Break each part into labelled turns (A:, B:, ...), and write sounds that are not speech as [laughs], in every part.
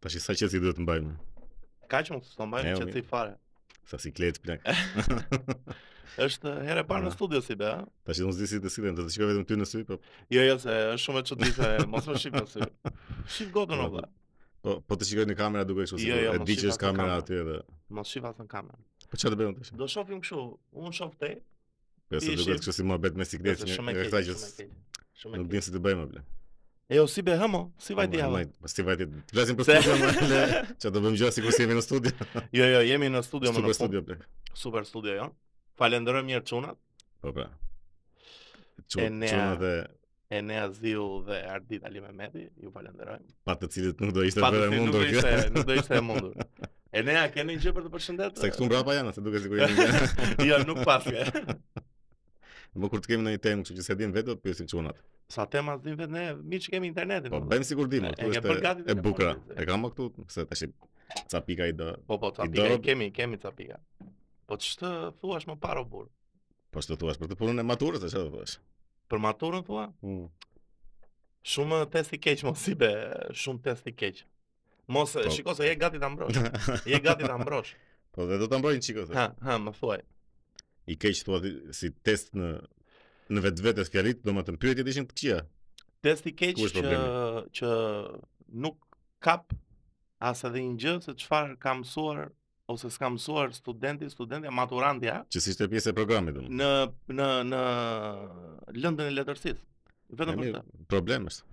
A: Tash sa qeci duhet të mbajmë?
B: Kaq më s'do mbajnë
A: Jo,
B: që ti fare.
A: Sa siklet plak.
B: [laughs] Është herë e parë në
A: Aha.
B: studio si be, ha?
A: Tash unë s'di si të sillen, do të shikoj vetëm ty në sy, po
B: Jo, jo, se është shumë e çuditshme,
A: [laughs]
B: mos më shqip asy. Shqip gotën o vëlla.
A: po, po të shikoj në kamera duke kështu si
B: Jo, jo,
A: e
B: mos
A: di
B: shiko
A: që është
B: ka
A: kamera
B: kamera.
A: aty edhe.
B: Mos shqip atë në kamerë.
A: Po çfarë të bëjmë tash?
B: Do shohim kështu, unë shoh te,
A: Po se
B: Ti
A: duket
B: shqip.
A: kështu si mohabet me
B: dhe
A: siklet,
B: se
A: një
B: shumë e
A: nga
B: keq,
A: këta që
B: shumë e
A: s-
B: keq. Shumë e
A: nuk
B: keq.
A: din si të bëjmë bla.
B: E jo, si be, ha mo, si vajti ha. mo? [laughs]
A: Po si vajti, të flasim për
B: Se-
A: studio më le. Çfarë do bëjmë gjë sikur si jemi në studio.
B: [laughs] Jo, jo, jemi në studio më
A: Super
B: në fund.
A: studio plak.
B: Super studio, jo. Falenderojmë mirë çunat,
A: Po pra.
B: E
A: Çuna
B: nea-
A: çuna dhe
B: Enea Ziu dhe Ardit Ali Mehmeti, ju falenderojmë.
A: pa të cilët nuk do ishte
B: Pa të
A: vërë
B: si nuk do
A: mundur
B: ishte,
A: kjo.
B: nuk do ishte e mundur. Enea, keni gjë për të përshëndetur?
A: Se këtu mbrapa janë, se duket sikur jemi. [laughs]
B: [laughs] jo, nuk paske.
A: Më kur të kemi ndonjë temë, kështu që se dim vetë, do të pyesim çunat.
B: Sa tema të vetë ne, mirë që kemi internetin.
A: Po
B: mo.
A: bëjmë sikur dim,
B: E-
A: këtu
B: e ke
A: është
B: bërë gati
A: e- e
B: telefonin,
A: bukura.
B: se-
A: E kam këtu, se tash ca pika i do.
B: Po, po, ca
A: I
B: pika,
A: dorë-
B: kemi, kemi ca pika. Po ç'të thuash më parë o burr?
A: Po ç'do thuash për të punën e maturës, çfarë do thuash?
B: Për maturën thua? Shumë test i keq mos i be, shumë test i keq. Mos
A: Po.
B: shiko se je gati ta mbrosh. Je gati ta mbrosh.
A: [laughs] Po dhe do ta mbrojnë çiko se.
B: Ha, ha, më thuaj.
A: I keq thua ti si test në në vetvetes fjalit, domethënë pyetjet ishin të këqija.
B: Test i keq
A: Ku është
B: që që nuk kap as edhe një gjë se çfarë ka mësuar ose s'ka mësuar studenti, studentja, maturantja
A: Që si ishte pjesë e programit domethënë.
B: në në në lëndën e letërsisë.
A: E
B: Vetëm për
A: mirë,
B: këtë.
A: Problem është.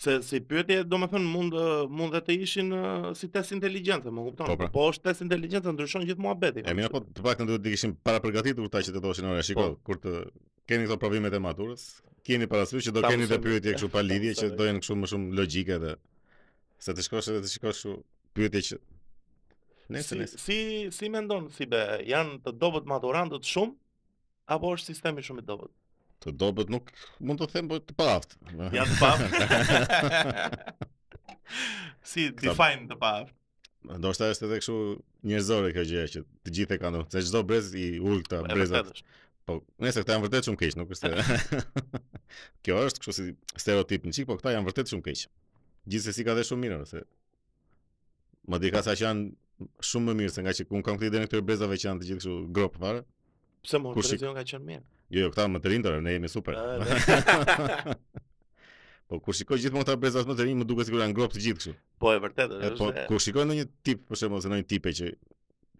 B: Se si pyetje, do me thënë, mund, ë, mund dhe të ishin ë, si test inteligjencë, më kupton?
A: Po,
B: Po,
A: pra.
B: është test inteligjencë, ndryshon gjithë muhabeti.
A: E mira po të paktën duhet të kishim para përgatitur ta që të thoshin ora, shiko,
B: Po.
A: kur të keni këto provimet e maturës, keni parasysh që do
B: Ta
A: keni dhe
B: mësoj.
A: pyetje kështu pa
B: Ta
A: lidhje që
B: mësoj.
A: do jenë kështu më shumë logjike dhe se të shkosh edhe të shikosh kështu pyetje që
B: si,
A: Nëse nëse
B: si, si mendon, si be, janë të dobët maturantët shumë, apo është sistemi shumë i dobët?
A: të dobët nuk mund të them po të paaft.
B: Janë të paftë. [laughs] si define të paftë.
A: Ndoshta është edhe kështu njerëzore kjo gjë që të gjithë e kanë, domethënë, se çdo brez i ul këta
B: E
A: brezat.
B: vërtet është.
A: Po, nëse këta janë vërtet shumë keq, nuk është
B: [laughs]
A: se Kjo është kështu si stereotip në çik, po këta janë vërtet shumë keq. Gjithsesi ka dhe shumë mirë, se madje ka sa që janë shumë më mirë se nga që un kam këtë ide në këtyre brezave që janë të gjithë kështu grop fare.
B: Pse më
A: Kur shik-
B: kurrizion ka qenë mirë?
A: Jo, jo, këta më të rinjtë, ne jemi super. [laughs]
B: Ah,
A: po kur shikoj gjithmonë këta breza më të rinj, më duket sikur janë grop të gjithë kështu.
B: Po e vërtet
A: E,
B: është.
A: po
B: e-
A: kur shikoj ndonjë tip, për shembull, se ndonjë tipe që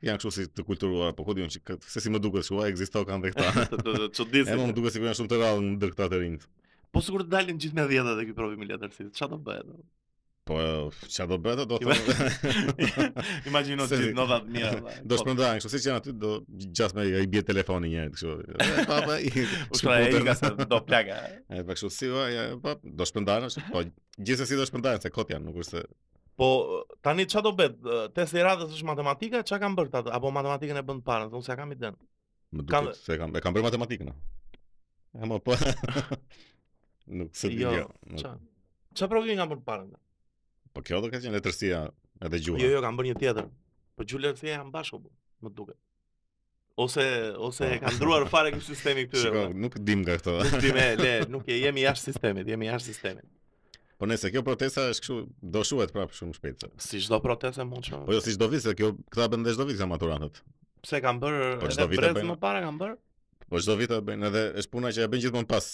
A: janë kështu si të kulturuara, po ku diun që këtë- se si më duket kështu, a ekziston kanë [laughs] dhe këta.
B: [laughs] të të të
A: E më më
B: çuditshme.
A: duket sikur janë shumë të rrallë ndër këta të rinj.
B: Po sigur të dalin gjithë me 10 edhe ky provim i letërsisë. Çfarë do bëhet?
A: Po, çfarë do bëhet do
B: Ima-
A: thonë.
B: [laughs]
A: [laughs]
B: Imagjino
A: Po, Se-
B: gjithë notat
A: [laughs]
B: mira. valla.
A: Do
B: Po,
A: shpërndarën, kështu siç janë aty do gjatë me i bie telefoni një herë kështu. [laughs] E, Papa i.
B: U shkra e
A: shkëputën.
B: ka se do plaka.
A: [laughs] E pa kështu si o, ja, pa, do shpërndarën, është, po gjithsesi do shpërndarën se kot janë, nuk është se
B: Po tani ç'a do bëhet? Testi i radhës është matematika, ç'a kanë bërë ata? Apo matematikën e bën parën, unë s'e kam iden.
A: Po. më
B: Kam-
A: duket se e kam e kam bërë [laughs] matematikën. E mo po. [laughs] nuk se di
B: Jo,
A: jo. nuk-
B: Ç'a? Ç'a provimi kanë bërë parën?
A: Po kjo do ka qenë letërsia edhe gjuha.
B: Jo, jo, kanë bërë një tjetër. Po gjulërsia janë bashkë, bu, më duket. Ose ose e kanë ndruar fare ky
A: [laughs]
B: sistemi këtyre.
A: Po. Shiko,
B: valla.
A: nuk dim nga
B: [laughs]
A: këto.
B: Nuk di me, le, nuk e jemi jashtë sistemit, jemi jashtë sistemit.
A: Po nëse kjo protesta është kështu, do shuhet prapë shumë shpejt. se-
B: Si çdo protestë mundshme.
A: Po jo si çdo vit se kjo këta bën dhe çdo vit këta maturantët.
B: pse kanë bërë
A: Po çdo
B: edhe
A: vit e
B: brez
A: bëjnë.
B: më para
A: [laughs]
B: kanë bërë?
A: Po çdo vit e bëjnë edhe është puna që e bën gjithmonë pas.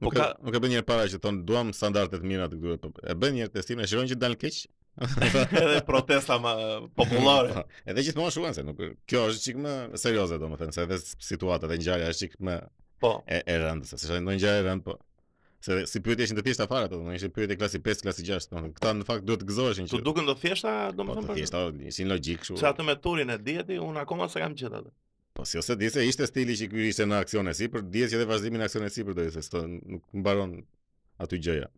B: Po
A: Nuk,
B: ka-
A: e, nuk e bën një herë para që thonë duam standarde të mira të këtyre. po E bën një herë testimin, e shikojnë që dalin keq.
B: edhe protesta më popullore.
A: [laughs] edhe gjithmonë shuan se nuk kjo është çik më serioze domethënë se edhe s- situata dhe ngjarja është çik më
B: Po,
A: e, e rëndë se s'është ndonjë ngjarje e rëndë po. Se si pyetje ishin të thjeshta fare ato, domethënë ishin pyetje klasi 5, klasi 6, domethënë këta në fakt duhet të gëzoheshin
B: Të duken do thjeshta,
A: po
B: domethënë
A: të
B: për.
A: thjeshta, ishin logjik kështu.
B: Se atë me turin e dieti, unë akoma s'e kam gjetë atë.
A: Po si ose di se ishte stili që ky ishte në aksion e sipër, dihet që edhe vazhdimi në aksion e sipër do ishte, s'to nuk mbaron aty gjëja.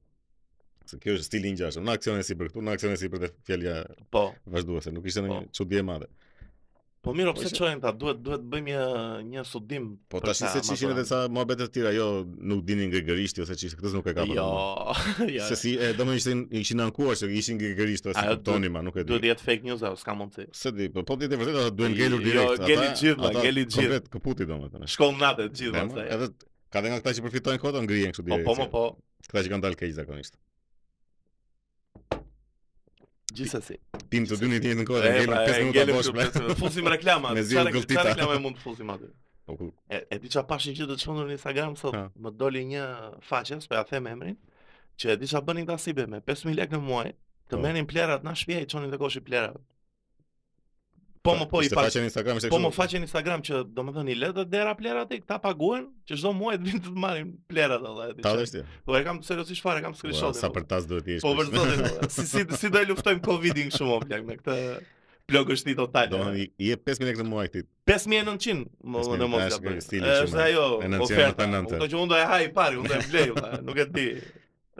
A: Se kjo është stili i ngjashëm, në aksion e sipër këtu, në aksion e sipër dhe fjalja
B: Po,
A: vazhduese, nuk ishte ndonjë
B: Po.
A: çudi e madhe.
B: Po mirë, o pse
A: Po, që-
B: çojnë ta? Duhet duhet bëjmë një një studim.
A: Po
B: për
A: tash
B: këta
A: se çishin edhe
B: maturant.
A: sa muhabete të tjera, jo nuk dinin gregerisht ose çishte, këtë nuk e ka.
B: Jo,
A: përmend.
B: [laughs] jo.
A: Se si, e, do më ishin ishin ankuar se ishin gregerisht ose
B: Ajo
A: kuptoni ma, nuk e
B: Duhet
A: di.
B: të jetë fake news apo s'ka mundsi.
A: Se di, po po ditë vërtet ata duhen
B: Jo,
A: ngelur direkt. ata-
B: geli gjithë, ma,
A: ata
B: geli gjithë.
A: Komplet kaputi domethënë.
B: Shkon natë të gjithë
A: Ne, ma,
B: pastaj.
A: Edhe ka dhe nga këta që përfitojnë kota ngrihen kështu
B: Po
A: direkt.
B: po
A: se
B: mo po,
A: Këta që kanë dalë keq zakonisht.
B: gjithsesi.
A: Tim të dy në të njëjtën kohë,
B: E,
A: ngelin
B: pra,
A: 5
B: e,
A: minuta
B: ngelim
A: bosh.
B: këtu,
A: bre.
B: pes- Fusim
A: [laughs]
B: reklama.
A: Me
B: çfarë-
A: zi e
B: Çfarë
A: gëlltita.
B: reklame mund të fusim aty?
A: Po ku-
B: E, e di çfarë pashin që të çmendur në Instagram sot.
A: Ha.
B: Më doli një faqe, s'po ja them emrin, që e di çfarë bënin këta sibe me 5000 lekë në muaj, të
A: Po.
B: merrin plerat na shtëpi i çonin te koshi plerat. Po më po i
A: ishte
B: pa
A: faqja në Instagram ishte
B: Po më
A: kështu.
B: faqen Instagram që domethënë i le të dera plerat e këta paguhen, që çdo muaj të vinë të të marrin plerat olla. e di
A: Ta
B: çfarë.
A: dhe shtë.
B: Po e kam seriozisht fare, e kam screenshot.
A: Sa për tas duhet jesh.
B: Po
A: kështu.
B: vërtetë. Si si si do e luftojmë Covidin kështu më plak me këtë plogështi
A: [laughs]
B: totale.
A: Domethënë i- i jep 5.000 lekë në muaj këtij.
B: 5900 më
A: 5.900
B: në mos
A: është
B: ka
A: ky
B: bërë.
A: stili që
B: Është
A: merr.
B: ajo
A: E nëntë
B: oferta.
A: janë nëntë.
B: Unë do që unë do e haj pari, unë do e blej, valla, nuk e di.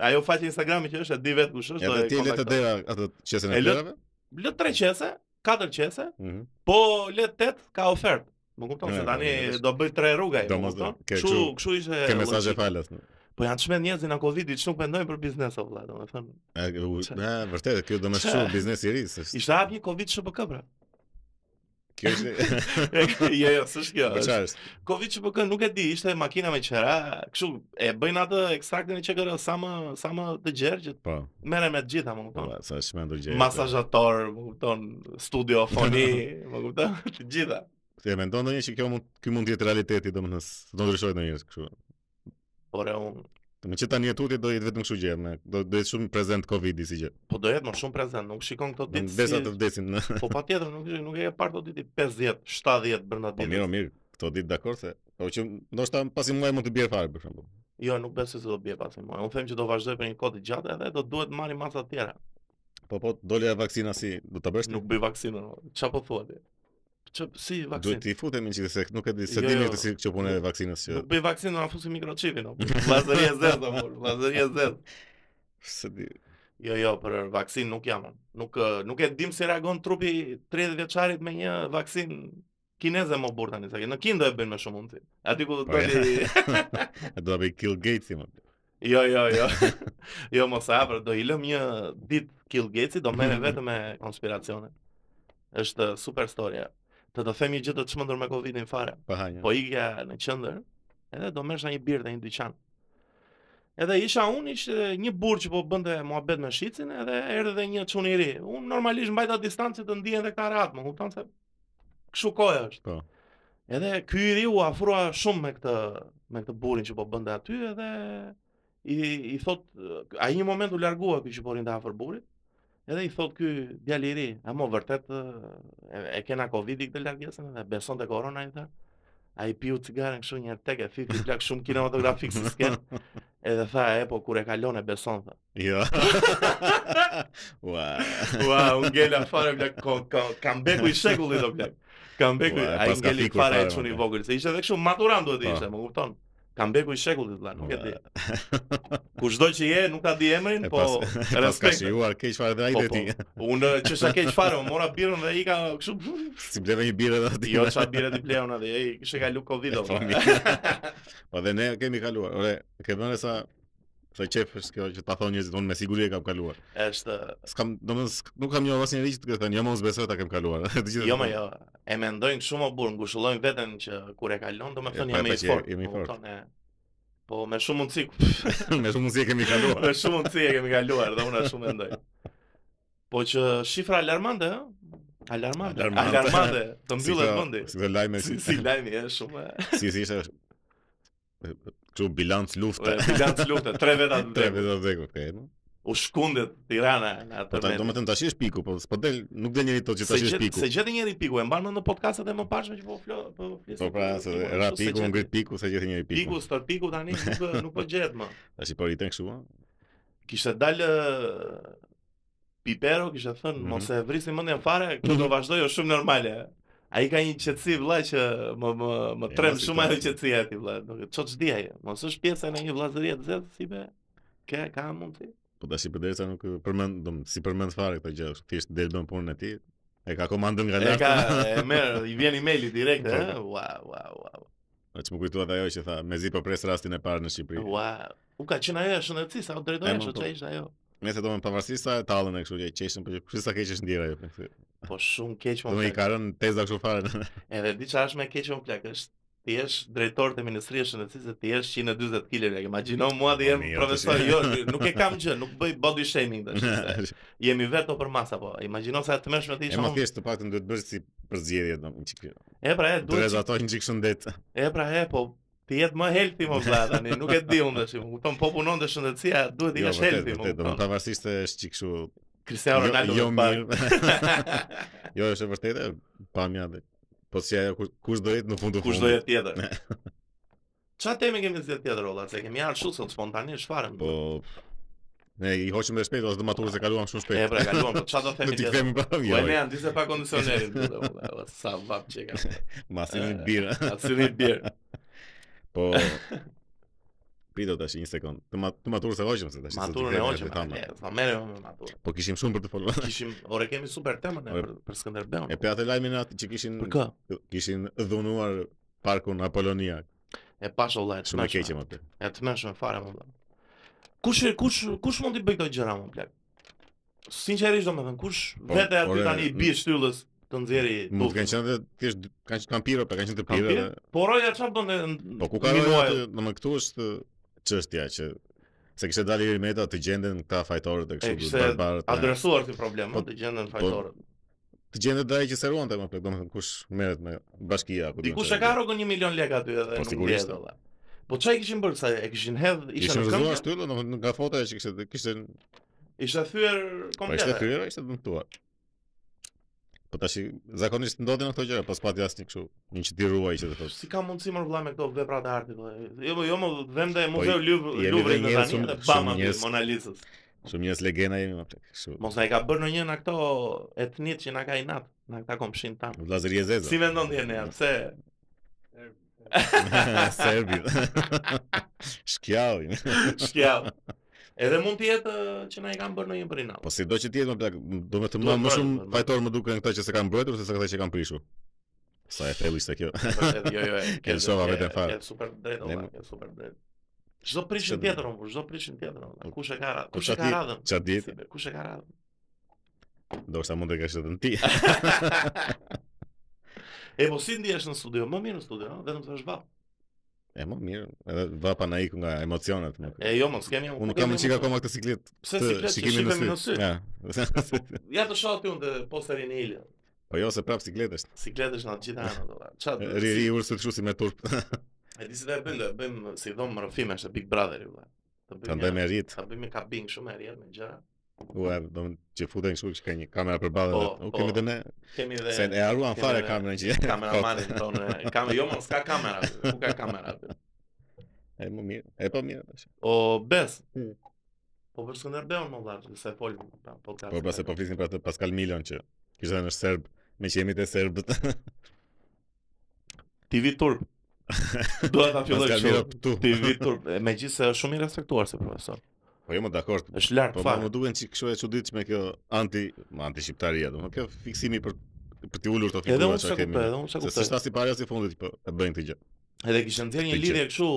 B: Ajo faqja e Instagramit që është, e di vetë kush është, do
A: Edhe
B: e
A: ti le të
B: kontaktoj.
A: dera atë qesën e
B: E lë-
A: plerave.
B: Lë 3 qese, 4 qese,
A: Mhm.
B: po le 8 ka ofertë. Më kupton
A: E,
B: se
A: po,
B: tani
A: mirë, është.
B: do bëj tre rruga,
A: Do
B: më
A: mos do.
B: kupton?
A: Ke
B: Kështu,
A: kështu-
B: kështu ishte.
A: Ke mesazhe
B: logjika.
A: falas.
B: Po janë çmend njerëz në Covidit që nuk mendojnë për biznes o vëlla, domethënë.
A: E, u-
B: Qa-
A: e, vërtet, kjo do më
B: Qa-
A: shumë biznes i ri. s'është-
B: Ishte hap një Covid SHPK
A: [laughs]
B: pra. [laughs]
A: Kjo është. [laughs]
B: jo, jo, s'është kjo.
A: Po
B: është-
A: çfarë është?
B: Covid SHPK nuk e di, ishte makina me qera, kështu e bëjnë atë ekstraktin e qegrës sa më sa më të gjerë që
A: Po,
B: merren me të gjitha, më
A: po,
B: kupton.
A: sa është mendur gjë.
B: Masazhator, më kupton, studio
A: [laughs]
B: foni, më kupton, [laughs] të gjitha.
A: Ti e mendon ndonjë që kjo mund ky mund të jetë realiteti domethënë s- do ndryshojë ndonjëherë kështu.
B: Por e unë,
A: Me që tani e tutje do jetë vetëm kështu gjë, me- do do jetë shumë prezent Covidi si gjë.
B: po do jetë më shumë prezent, nuk shikon këto ditë.
A: Besa të vdesin. në-
B: Po patjetër, nuk nuk e ke parë këto ditë 50, 70 brenda
A: Po mirë, o
B: ditës.
A: mirë, këto ditë dakor se Po që ndoshta pasi muaj mund të bjerë fare për shembull.
B: Jo, nuk besoj se do bje pasi mua. Unë them që do vazhdoj për një kohë të gjatë edhe do duhet marrim masa të tjera.
A: Po po, doli e vaksina si do ta bësh ti?
B: Nuk bëj vaksinën. o. Çfarë po thua ti? Ço si
A: Duhet
B: vaksinë?
A: t'i futemi që se nuk e di se
B: Jo,
A: dini
B: jo.
A: të si që punë e vaksinës që
B: Nuk bëj vaksinën, na fusi mikroçipin. o.
A: [laughs]
B: Vllazëri e zezë, o, vllazëri e zezë.
A: se di.
B: Jo, jo, për vaksinë nuk jam. unë. Nuk ë, nuk e dim si reagon trupi 30 vjeçarit me një vaksinë kineze më burr tani, sa ke. Në Kinë do e bëjnë më shumë mundsi. Aty ku do
A: Po, ja.
B: doli
A: E do ta bëj Kill Gates më.
B: [laughs] Jo, jo, jo. [laughs] Jo mos e hapër, do i lëm një ditë Kill Gatesi, do merre
A: Mhm.
B: vetëm me konspiracione. Është super storja. Të të them një gjë të çmendur me Covidin fare.
A: Pa hanja.
B: Po ikja në qendër, edhe do merresha një birë te një dyqan. Edhe isha unë, ishte një burr që po bënte muhabet me shicin, edhe erdhi dhe një çun i ri. Unë normalisht mbajta distancë të ndihen edhe këta rahat, më kupton se kështu koja është.
A: Po.
B: Edhe ky i ri u afrua shumë me këtë me këtë burrin që po bënte aty edhe i i thot ai një moment u largua ky që po rinte afër burrit. Edhe i thot ky djalë i ri, "A mo vërtet e, e kena Covidi këtë largesën edhe beson te korona i tha." Ai piu cigaren kështu një herë tek e fifi plak shumë kinematografik si sken. Edhe tha, "E po kur e kalon e beson." Tha.
A: [laughs] Jo. Ua.
B: Ua, u ngela fare plak ko- ko- comeback-u i shekullit do plak. Comeback-u
A: Ua, e
B: ai
A: pas ka
B: ngeli
A: fikur
B: fare
A: fare,
B: e çuni i
A: ma.
B: vogël, se ishte edhe kështu maturan duhet të
A: Po.
B: ishte, më kupton. Comeback-u i shekullit vlla, nuk e
A: [laughs] Ua.
B: di. Kushdo që je, nuk ta di emrin,
A: E
B: po
A: pas- Pas ka
B: respekt.
A: shijuar keq fare dhe ai
B: Po,
A: dhe
B: po.
A: ti.
B: Unë çesha keq fare, më mora birën dhe i ka kështu
A: [laughs] [laughs] Si bleve një birë edhe aty.
B: Jo, qa bire t'i plejon atë, e i kishe ka lu Covid
A: [laughs] Po,
B: o. [laughs]
A: mirë. Po dhe ne kemi kaluar. Ore, ke vënë sa sa qef është kjo që ta thon njerëzit, unë me siguri e kam kaluar.
B: Eshtë,
A: S'kam, domethënë s'k- nuk kam njohur asnjëri që të thënë, jo mos besoj ta kem kaluar. [laughs] Të gjithë-
B: jo më jo, e mendojnë shumë o burë, ngushëllojnë veten që kur e kalon, do me
A: E, pa,
B: thënë jam
A: pa
B: i
A: që
B: fort.
A: jemi
B: më
A: fort.
B: kupton, e. Po me shumë
A: [laughs]
B: mundësi, [laughs]
A: Me shumë mundësi e kemi
B: me
A: kaluar.
B: shumë mundësi e kemi kaluar dhe unë e shumë mendoj. Po që shifra alarmante, ë? Alarmante,
A: Alarmante.
B: alarmante, të [laughs]
A: [laughs]
B: mbyllet
A: këto-
B: vendi.
A: Si do lajme si
B: Si, si lajmi e
A: [laughs]
B: shumë e.
A: si si ishte kështu bilanc lufte.
B: Ure,
A: [laughs]
B: bilanc lufte, tre veta të
A: Tre
B: vdekur.
A: vetë vdekur, okay. no?
B: U shkundet Tirana në
A: Po
B: atë
A: ta-
B: moment.
A: domethënë tash është piku, po s'po del, nuk del njëri thotë që
B: Se
A: tash është
B: gjet-
A: piku.
B: Se gjeti njëri piku, e mban mend në podcastet e më pashme që po flo, po flisë.
A: Po pra, se ra piku, ngrit piku, se gjithë njëri
B: Piku,
A: piku.
B: stër piku tani nuk nuk po gjet
A: [laughs]
B: më.
A: Tash i po riten kështu, a?
B: Kishte dalë ë, Pipero kishte thënë
A: Mhm.
B: mos e vrisi mendjen fare, kjo do vazhdojë është shumë normale. Ai ka një qetësi vëlla që më më më
A: E,
B: trem
A: mos i
B: shumë ajo
A: thuaj.
B: qetësia e tij vëlla. Nuk e ç'o ç'di ai. Mos është pjesa e një vllazërie të zezë si be. Ka ka mundsi.
A: Po tash i përderisa nuk përmend, dom, si përmend fare këtë gjë, është thjesht del bën punën e tij. E ka komandën nga
B: E
A: lart.
B: ka e merr, i vjen emaili direkt, "Eh, ë? Ua, ua, ua.
A: Atë më kujtuat ajo [laughs] që tha, mezi po pres rastin e parë në Shqipëri.
B: Ua. U ka qenë ajo e shëndetësisë, au drejtoj
A: E,
B: ashtu
A: po,
B: çfarë
A: po.
B: ishte ajo.
A: Nëse do me pavarësisht sa e tallën e kështu që i qeshën, po që kështu sa keq është ndjera ajo. për këtë.
B: Po shumë keq
A: Do me
B: më
A: i ka rënë teza kështu [laughs] fare.
B: Edhe diçka është më keq më plak, është ti je drejtor të Ministrisë e Shëndetësisë, ti je 140 kg, lek. Imagjino mua dhe
A: Po,
B: jem
A: mirë,
B: profesor,
A: tash.
B: jo, nuk e kam gjë, nuk bëj body shaming
A: [laughs]
B: tash. se
A: e
B: Jemi vetë për masa, po. Imagjino sa të mëshme ti
A: më
B: isha.
A: thjesht të paktën duhet bësh si për zgjedhje do një çik.
B: E pra, e
A: Do
B: duhet
A: rezatoj një çik shëndet.
B: E pra e, po ti jetë më healthy më vlla tani, nuk e di unë tash. Më kupton, po punon dhe shëndetësia, duhet
A: [laughs]
B: të
A: Jo,
B: jesh healthy,
A: vërtet,
B: më
A: vërtet, do me
B: kupton.
A: pavarësisht se është çik kështu.
B: Cristiano
A: jo-
B: po. Ronaldo.
A: Jo
B: më pak.
A: mirë. [laughs] Jo, është e vërtetë, pamja dhe. Po si ajo kush- kush do jetë në fund të
B: Kush do jetë tjetër? Çfarë teme kemi zgjedh tjetër olla, se kemi ardhur shumë sot spontanisht fare. më duket.
A: Po. Ne i hoqëm dhe shpejt, ose do maturës e kaluam shumë
B: E
A: shpejt. [laughs]
B: pra, kaluam, po çfarë do
A: Nuk
B: themi
A: t'i
B: tjetër?
A: kthemi prapë.
B: Po
A: Jo,
B: e ne janë disa pa [laughs] kondicionerin, më duket, olla, olla, sa vap që e ka. [laughs]
A: ma si një
B: Eh.
A: birë.
B: Atë një birë. [laughs]
A: Po. Pito tash një sekond. Të, ma, të maturës e hoqëm se tash. s'do t'i
B: Maturën
A: kthemi,
B: e hoqëm,
A: e thamë.
B: e, sa merrem me maturën.
A: Po kishim shumë për të folur. [laughs]
B: Kishim, ore kemi super temën e,
A: Ore.
B: për, për Skënderbeun.
A: E pe atë lajmin atë që kishin
B: Për kë?
A: kishin dhunuar parkun Apolonia.
B: E pash olla e
A: Shumë e
B: tmeshme.
A: keqe më tepër.
B: E të mëshme fare më vëllai. Kush kush kush mund t'i bëj këto gjëra më plak? Sinqerisht domethënë kush
A: Po,
B: vete aty
A: ore,
B: tani i bie shtyllës të nxjerrë.
A: Mund të kenë qenë dhe thjesht dy- kanë kanë pirë, pa kanë qenë të
B: Kanë
A: pirë.
B: pirë?
A: dhe-
B: Po roja çfarë bën? e-
A: Po ku ka
B: minuaj?
A: rënë atë, domethënë këtu është çështja që se kishte dalë Iri Meta të gjenden këta fajtorët e
B: E
A: kështu
B: kishte
A: dy barbarët. e-
B: Adresuar ti problem,
A: Po,
B: të gjendën fajtorët.
A: Të gjendet ai që seruante më plot, domethënë kush merret me bashkia apo
B: Dikush e ka rrogën 1 milion lek aty edhe
A: Po,
B: nuk
A: sigurisht.
B: sigurisht. valla. Po çai kishin bërë sa e kishin hedh, ishte
A: Ishte
B: në
A: rrezuar
B: këmbë.
A: shtyllën, domethënë nga fotoja që kishte kishte
B: Ishte thyer
A: po ishte
B: komplet.
A: thyer, ishte dëmtuar. Po tash zakonisht ndodhin këto gjëra, pas pati asnjë kështu, një që ti ruaj që të thosh.
B: Si ka mundësi më vëlla me këto vepra të artit? vëlla? Jo, po, jo më vende
A: Po,
B: muzeu
A: jemi
B: Louvre
A: dhe
B: Louvre në
A: njerëz
B: tani
A: shumë-
B: dhe bam
A: shumë
B: aty
A: njerëz-
B: Mona Lisës.
A: Shumë njerëz legjenda jemi më plot, kështu.
B: Mos na i ka bërë në një në këto etnit që na ka i natë, na këta komshin tam.
A: Vllazëri e zezë.
B: Si mendon ti ne, pse
A: [laughs] Serbi. [laughs] Shkjavin.
B: shkjau. Edhe mund të jetë ë, që na i kanë bërë në një prinall.
A: Po si do që ti jetë më plak, do me të më
B: Duhet
A: më
B: mbrojtur,
A: shumë
B: normal.
A: fajtor më duken këta që se kanë mbrojtur se sa këta që kanë prishur. Sa e thellu ishte kjo. [laughs]
B: Vërtet, jo, jo, e, ke-
A: Elshova
B: ke-
A: vetëm fare.
B: Ke super drejt,
A: Ne
B: ola,
A: mu-
B: ke super drejt. Çdo
A: Se-
B: prishin tjetër, unë, çdo prishin tjetër. ola. Kush e ka radhën?
A: Po
B: Kush e
A: qa
B: ka
A: ti-
B: radhën?
A: Qa dit,
B: Si be, Kush e ka radhën? [laughs]
A: do shta mund të kesh edhe në ti.
B: E po si ndihesh në studio? Më mirë në studio, ëh, vetëm të vazhdo.
A: E më mirë, edhe vapa na iku nga emocionet. Nuk.
B: E jo, mos kemi.
A: Unë kam qika akoma këtë siklet të
B: Pse si klet që
A: shikimin
B: shifemi në sy?
A: Ja. [laughs]
B: Ja të shoh aty unë të posterin e Ilja.
A: po jo se prap siklet është.
B: Sikletësh në të gjitha anët, ola. Çfarë?
A: Riri ursë të kështu si me turp. [laughs]
B: E di si të e bëjmë, do e bëjmë si dhomë mërëfime, është Big Brother i vla. Të
A: Të ndaj me rrit.
B: Ta bëjmë një kabin shumë e rrjedh me gjëra.
A: Ua, do më që futen kështu që ka një kamera përballë. U
B: Po, po.
A: kemi dhe ne.
B: Kemi dhe
A: Se e haruan
B: kemi
A: fare
B: dhe-
A: kamerën që. [laughs]
B: kameramanin
A: po.
B: tonë. Kam jo mos ka kamera, ku ka kamera? aty?
A: E më mirë. E po mirë tash.
B: O Bes.
A: Hmm.
B: Po për Skënderbeun më vllaj, se fol pra podcast.
A: Po pra se po flisin për atë Pascal Milon që kishte thënë është serb, me që jemi të serbët.
B: Po, TV Turp. Dua ta filloj
A: [laughs] Pascal Milon
B: kështu.
A: këtu.
B: TV Turp, e, megjithse është shumë i respektuar si profesor.
A: Po jo më dakord.
B: Është lart
A: Po ma
B: fare.
A: më duken çik kështu e çuditshme kjo anti, ma anti shqiptaria, domethënë kjo fiksimi për për t'i ulur këto
B: Edhe
A: figura
B: unë se kuptoj, edhe unë se
A: Se si
B: kuptoj.
A: shta si parja si fundit po e bëjnë këtë gjë.
B: Edhe kishte nxjerrë një
A: Të
B: lidhje kështu,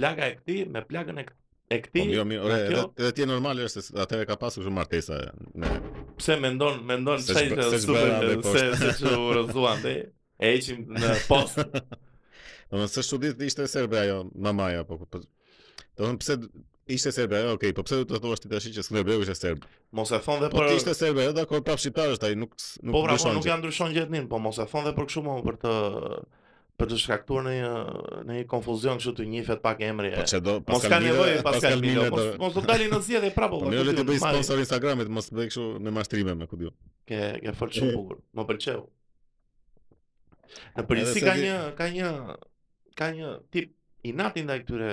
B: plaka e këtij me plagën e kë- e
A: Po
B: këtij.
A: mirë, mirë, ore,
B: nga
A: edhe
B: pra kjo-
A: edhe ti e normale është se atëre ka pasur kështu martesa me
B: pse mendon mendon
A: Se
B: çaj
A: zb-
B: të
A: se
B: super
A: zbëra dhe
B: se se çu rrezuan te e heqim në post.
A: [laughs] Domethënë se çudit ishte serbe ajo mamaja po. po domethënë pse d- ishte serbe ajo, okay, po pse do të thuash ti tash që Skënderbeu ishte serb?
B: Mos e thon dhe
A: Po
B: për
A: ti ishte serbe, ajo dakor prap shqiptar është ai, nuk nuk
B: po pra po
A: ndryshon
B: nuk
A: gjë.
B: ja ndryshon gjetnin, po mos e thon dhe për kështu më për të për të shkaktuar në një në një konfuzion kështu të njifet pak emri.
A: Po
B: e.
A: çe do
B: Mos ka nevojë
A: Milo-
B: Pascal Milo,
A: Milo
B: mos
A: do-
B: mos do dalin në zgjedhje prapë.
A: [laughs] Po
B: valla,
A: mirë le
B: ku
A: të
B: ti,
A: bëj
B: mari.
A: sponsor Instagramit, mos bëj kështu me mashtrime me ku diu.
B: Ke ke fol
A: [laughs]
B: shumë
A: E.
B: bukur. Më pëlqeu. Në
A: Edhe
B: përgjithësi
A: se
B: ka
A: di-
B: një ka një ka një tip i nati ndaj këtyre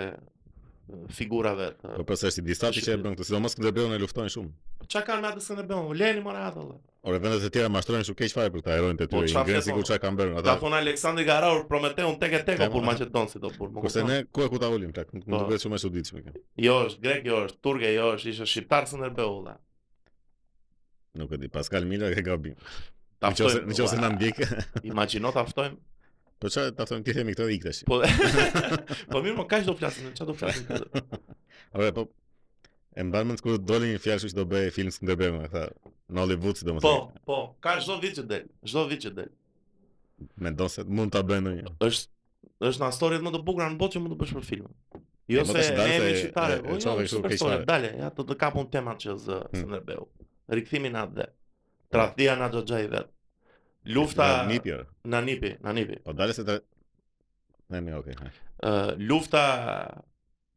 B: e, figurave të
A: Po pse është i disa që e bën këtë, sidomos Skënderbeun e luftojnë shumë.
B: Çka kanë me atë s'e bën? U leni mora atë valla.
A: Ore vendet e tjera mashtrojnë shumë keq fare për këta heronjtë e
B: Po,
A: tyre,
B: çfarë
A: ingrenë
B: flet,
A: sikur
B: mo?
A: çka kanë bërë
B: Ta
A: ata.
B: thon Aleksandri Garau Prometeun tek e tek
A: E,
B: opur
A: mo, e.
B: Maqedon si do pur. më
A: Kurse
B: kupton?
A: ne ku e ku ta ulim plak, nuk
B: Po.
A: duket shumë e çuditshme kjo.
B: jo është grek, jo është turke, jo është ishte shqiptar Skënderbeu valla.
A: Nuk e di, Pascal Mila e ka gabim.
B: Ta
A: Nëse
B: ftojmë. po.
A: nëse na
B: ua,
A: ndjek, [laughs]
B: Imagjino ta ftojmë.
A: po çfarë ta thon ti themi këtë dhe ik tash.
B: Po.
A: [laughs]
B: po mirë, më kaq do flasim, çfarë do flasim?
A: [laughs]
B: tjetër?
A: Ore, po e mban mend kur doli një fjalë kështu që do bëj film Skënderbeu me këtë. Në Hollywood si do më
B: Po,
A: thënë.
B: po, ka çdo vit që del, çdo vit që del.
A: Mendon se mund ta bëj ndonjë.
B: Është është nga historiat më të bukura në botë që mund të bësh për filmin.
A: E,
B: Jo
A: po,
B: se
A: tash
B: ne
A: dalë
B: jemi
A: se-
B: shqiptare,
A: e- e
B: po jo,
A: qove kështu
B: super
A: keqtare.
B: story, dale, ja të të kapun temat që zë
A: Hmm.
B: Skënderbeu. Rikthimi në atë dhe. Tradhia na xhoxhai vet. Lufta
A: nipi. ore.
B: na nipi, na nipi.
A: Po dalë se ta Ne ne, okay. hajde.
B: Ë, lufta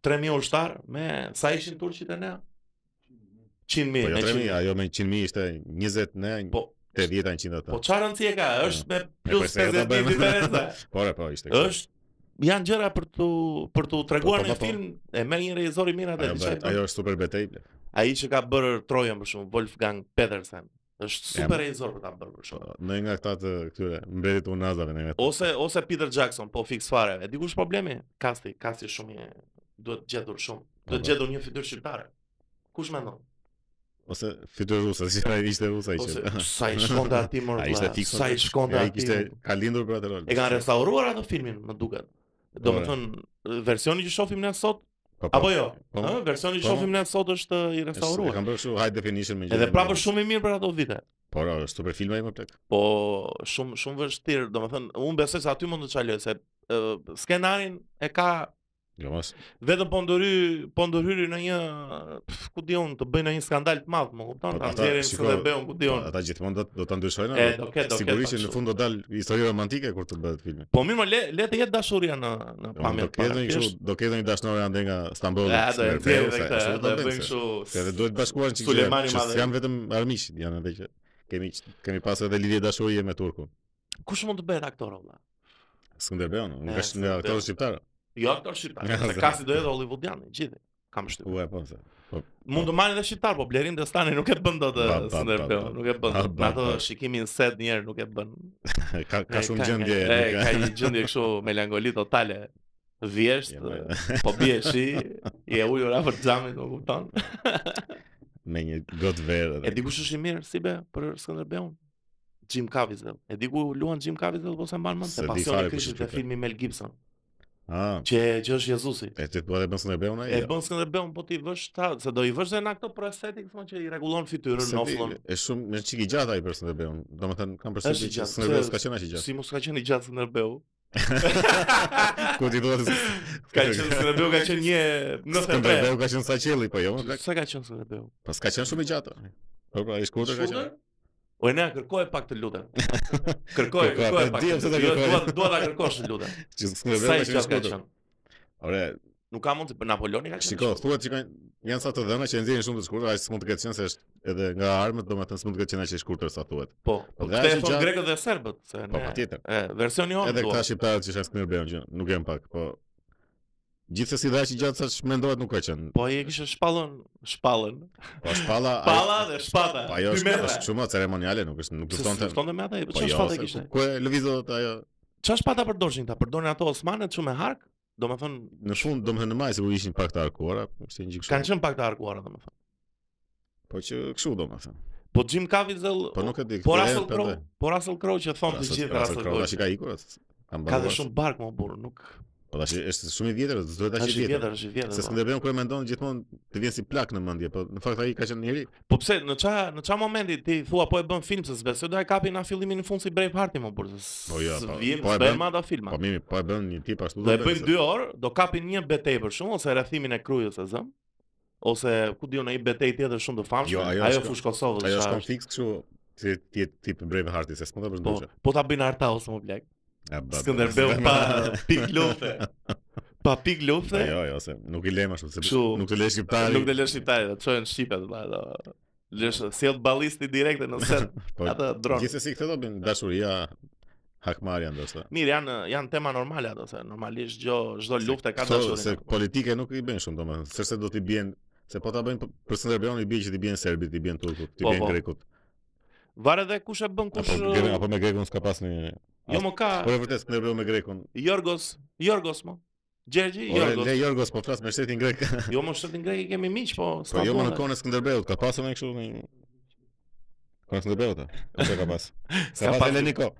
B: 3000 ushtar me sa ishin turqit e ne? 100.000,
A: Po jo
B: me
A: 3000,
B: 100.000.
A: ajo me 100000 ishte 20 ne,
B: Po,
A: 80 100 ata.
B: Po çfarë rëndësi e ka? Është me plus
A: pse e do
B: 50
A: bëjmë?
B: ditë diferencë.
A: [laughs] Po, ore, po ishte. kështu.
B: Është janë gjëra për tu për tu treguar
A: Po, po,
B: në
A: po, po.
B: film e merr një regjisor i mirë atë
A: Ajo,
B: diçka.
A: bëhet-
B: i bën.
A: ajo është super betej. ble.
B: Ai që ka bërë Trojan për shkakun Wolfgang Petersen. Është
A: Ja,
B: super regjisor për ta bërë për
A: Po,
B: shkakun.
A: Në nga këta të këtyre mbretit unazave në nga këta.
B: Ose ose Peter Jackson, po fiks fare. E di kush problemi? Kasti, kasti shumë i duhet gjetur shumë. Duhet
A: po.
B: gjetur një fytyrë shqiptare. Kush mendon?
A: Ose fytyrë ruse, si ai ishte rusa i
B: Ose
A: [laughs] qenë.
B: sa i shkonte aty më
A: Ai ishte
B: vëlla?
A: fikso.
B: Sa i shkonte
A: Ai
B: aty?
A: kishte ka lindur për atë rol.
B: E kanë restauruar atë filmin, më duket. Do më
A: Ore.
B: thënë, versioni që shohim ne sot
A: Po, po,
B: Apo jo?
A: Po,
B: Ëh, versioni që
A: po.
B: shohim ne sot është ë, i
A: është- e
B: restauruar.
A: Kanë bërë kështu high definition me
B: Edhe prapë është shumë i mirë për ato vite.
A: Po, ora, është super filma i më plak.
B: Po shumë shumë vështirë, domethënë unë besoj se aty mund të çaloj se ë, skenarin e ka
A: Jo mos.
B: vetëm po ndëry po ndërhyri në një pf, ku di unë të bëjnë në një skandal të madh, më kupton?
A: Po,
B: Ta
A: ata-
B: nxjerrin
A: shiko,
B: se bëun ku di
A: Po,
B: unë.
A: Ata gjithmonë do do ta ndryshojnë.
B: Jo. E,
A: apo?
B: do ketë, do ketë,
A: Sigurisht që
B: pa,
A: në
B: kështu.
A: fund do dal histori romantike kur të bëhet filmi.
B: Po mirë, më le le të jetë dashuria në në
A: Do
B: pamje.
A: do ketë një kështu, do ketë një dashnore ande nga Stamboli.
B: Ja, do e
A: Skënderbeu,
B: nxjerrin
A: se-
B: dhe këtë,
A: ashtu
B: do e
A: bëjnë,
B: bëjnë
A: se- Se edhe
B: kështu.
A: duhet bashkuar në çikë.
B: Sulemani
A: që
B: Madhe.
A: Janë vetëm armiq, janë edhe që kemi kemi pasur edhe lidhje dashurie me turkun.
B: Kush mund të bëhet aktor valla?
A: Skënderbeu, nuk
B: E,
A: është nga aktorët shqiptarë.
B: Jo aktor shqiptar, se kasi do jetë hollywoodian, gjithë. Kam shtypur.
A: U e po se.
B: Mund të marrin edhe shqiptar, po Blerim Destani nuk e bën dot
A: Ba,
B: eh,
A: ba, ba,
B: Skënderbeu,
A: ba.
B: nuk e bën.
A: Ba,
B: dot.
A: ba,
B: Në ato
A: ba.
B: shikimin set një herë nuk e bën.
A: Ka ka
B: E,
A: shumë gjendje.
B: Ka, e,
A: nuk
B: ka një gjendje kështu melankoli totale. Vjesht,
A: Ja, me-
B: eh, po bie shi, i e ulur afër xhamit, nuk kupton.
A: me një gotë verë
B: E
A: edhe.
B: di kush është i mirë si be për Skënderbeun? Jim Caviezel. E di ku luan Jim Caviezel po se mban mend
A: Se
B: se
A: di
B: pasioni
A: fare kush
B: krishtit
A: është
B: te
A: ky.
B: filmi Mel Gibson,
A: Ah,
B: që që është Jezusi.
A: e ti thua bën Skënderbeun ai.
B: E bën Skënderbeun po ti vësh ta, se do i vësh dhe në ato prosthetics më që i rregullon fytyrën,
A: Se di,
B: noflon.
A: Është shumë më çik i gjatë ai për Skënderbeun. Domethënë kam
B: Është i
A: përshtypjen që
B: gjatë,
A: Skënderbeu
B: se-
A: s'ka qenë aq i gjatë.
B: Si mos ka qenë i gjatë Skënderbeu?
A: [laughs] Ku
B: [laughs]
A: ti thua se
B: Ka qenë Skënderbeu ka qenë një
A: [laughs]
B: 93.
A: Skënderbeu ka qenë sa qelli, po jo, më plak.
B: Sa ka qenë Skënderbeu?
A: Po s'ka qenë shumë i gjatë. ore. Po pra, ai shkurtër ka qenë.
B: O e nea, kërkoj pak të
A: [laughs]
B: lutem. Kërkoj,
A: Kërkoj,
B: kërkoj
A: po
B: pak.
A: diem se ta
B: Jo,
A: kërkoj.
B: Dua dua ta kërkosh të lutem.
A: Që
B: Sa
A: Skënderbeu ka
B: i
A: qenë
B: gjatë ka
A: shkurtër.
B: qenë?
A: Ore,
B: Nuk ka mund të për Napoloni ka qenë.
A: shiko, thuhet që kanë janë sa të dhëna që e nxjerrin shumë të shkurtër, ai s'mund të ketë qenë se është edhe nga armët, domethënë s'mund të ketë qenë aq i shkurtër sa thuhet.
B: Po,
A: Po,
B: po
A: dhe është
B: këtë e
A: i
B: thon
A: gjatë.
B: grekët dhe serbët, se
A: Po
B: ne. Po,
A: patjetër.
B: E, versioni on
A: Edhe
B: thua.
A: këta shqiptarët që ishin Skënderbeun që nuk janë pak, po gjithsesi dhe aq i gjatë sa që mendohet nuk ka qenë.
B: Po ai e kishte shpallën, shpallën.
A: Po shpalla, ai-
B: Palla dhe shpata.
A: po ajo
B: dy
A: është
B: metra.
A: është shumë ceremoniale, nuk është nuk
B: Se
A: duftonte.
B: s'duftonte me ata, po
A: Po
B: çfarë
A: jo,
B: shpata
A: se
B: kishte?
A: ku- ku e lëvizot ajo
B: Çfarë shpata përdorshin ta? Përdorin ato osmanet shumë me hark? Domethënë
A: në fund, domethënë në maj sigurisht ishin pak të arkuara, si një gjë
B: Kanë
A: kështu.
B: qenë pak të harkuara domethënë.
A: Po që kështu domethënë.
B: Po Jim Caviezel,
A: Po nuk e di.
B: po
A: këtë
B: Russell
A: herë, po
B: Crowe,
A: dhe-
B: po Russell Crowe që thon të
A: Russell-
B: gjithë
A: Russell
B: Russell
A: Crowe tash i ka
B: Crowe.
A: ikur. atë Kam
B: Ka
A: mbaruar.
B: dhe shumë bark më burr, nuk
A: Po tash është shumë i vjetër, duhet tash i
B: është i
A: vjetër.
B: vjetër, po. është i
A: Se
B: vjetër.
A: Skënderbeu kur e mendon gjithmonë të vjen si plak në mendje, po në fakt ai ka qenë njëri.
B: valla. Po pse në ça në ça momenti ti thua po e bën film se s'besoj do e kapi na fillimin në fund si Braveheart më burr.
A: Po jo, po-
B: vjen
A: po e bën-
B: bëjmë ata filma.
A: Po mimi, po e bën një tip ashtu.
B: Do e
A: domethënë,
B: bëjmë
A: se-
B: 2 orë, do kapin një betejë për shumë ose rrethimin e krujës së zëm ose ku diun ai betejë tjetër shumë të famshme,
A: Jo, ajo
B: ajo
A: është-
B: fush
A: Ajo
B: Kosovës. qa
A: është
B: është.
A: konflikt kështu ti ti je tip Bravehearti, se s'mund ta bësh
B: Po,
A: ndryshe.
B: po ta bëjnë harta ose më blek.
A: Ja, ba-
B: Skënderbeu
A: ba- [laughs]
B: pa pik lufte. Pa pik
A: Po
B: lufte.
A: jo, jo, se nuk i lëm ashtu, se
B: Kështu-
A: nuk të lësh shqiptarin.
B: Nuk të lësh shqiptare, do të çojnë shqipe do valla. Lësh sjell ballisti direkte në
A: [laughs]
B: set
A: [laughs] Po,
B: atë dron.
A: Gjithsesi këtë do bën dashuria hakmarja ndoshta.
B: Mirë, janë janë tema normale ato se normalisht çdo çdo luftë Po, ka
A: Kto Se po-
B: dashuri.
A: politike nuk i bën shumë domethënë, sepse do t'i bien se po ta bëjnë për- për Skënderbeun i bie që t'i bien serbit, t'i bien turkut, t'i
B: Po,
A: bien
B: po.
A: grekut.
B: Varet edhe kush e bën kush.
A: Apo gre- apo me grekun s'ka pas një
B: Jo më ka
A: Po e vërtet Skënderbeu me grekun.
B: Jorgos, Jorgos mo. Gjergji,
A: Ore, le
B: Jorgos.
A: Jorgos po flas me shtetin grek.
B: Jo më shtetin grek i kemi miq, po
A: Po jo më në
B: statuat.
A: ναι. kohën e Skënderbeut ka pasur një kështu një Frank Ngebeu ta. Ose ka pas. Ka
C: S'ka
A: pas
C: pas-
A: Eleniko.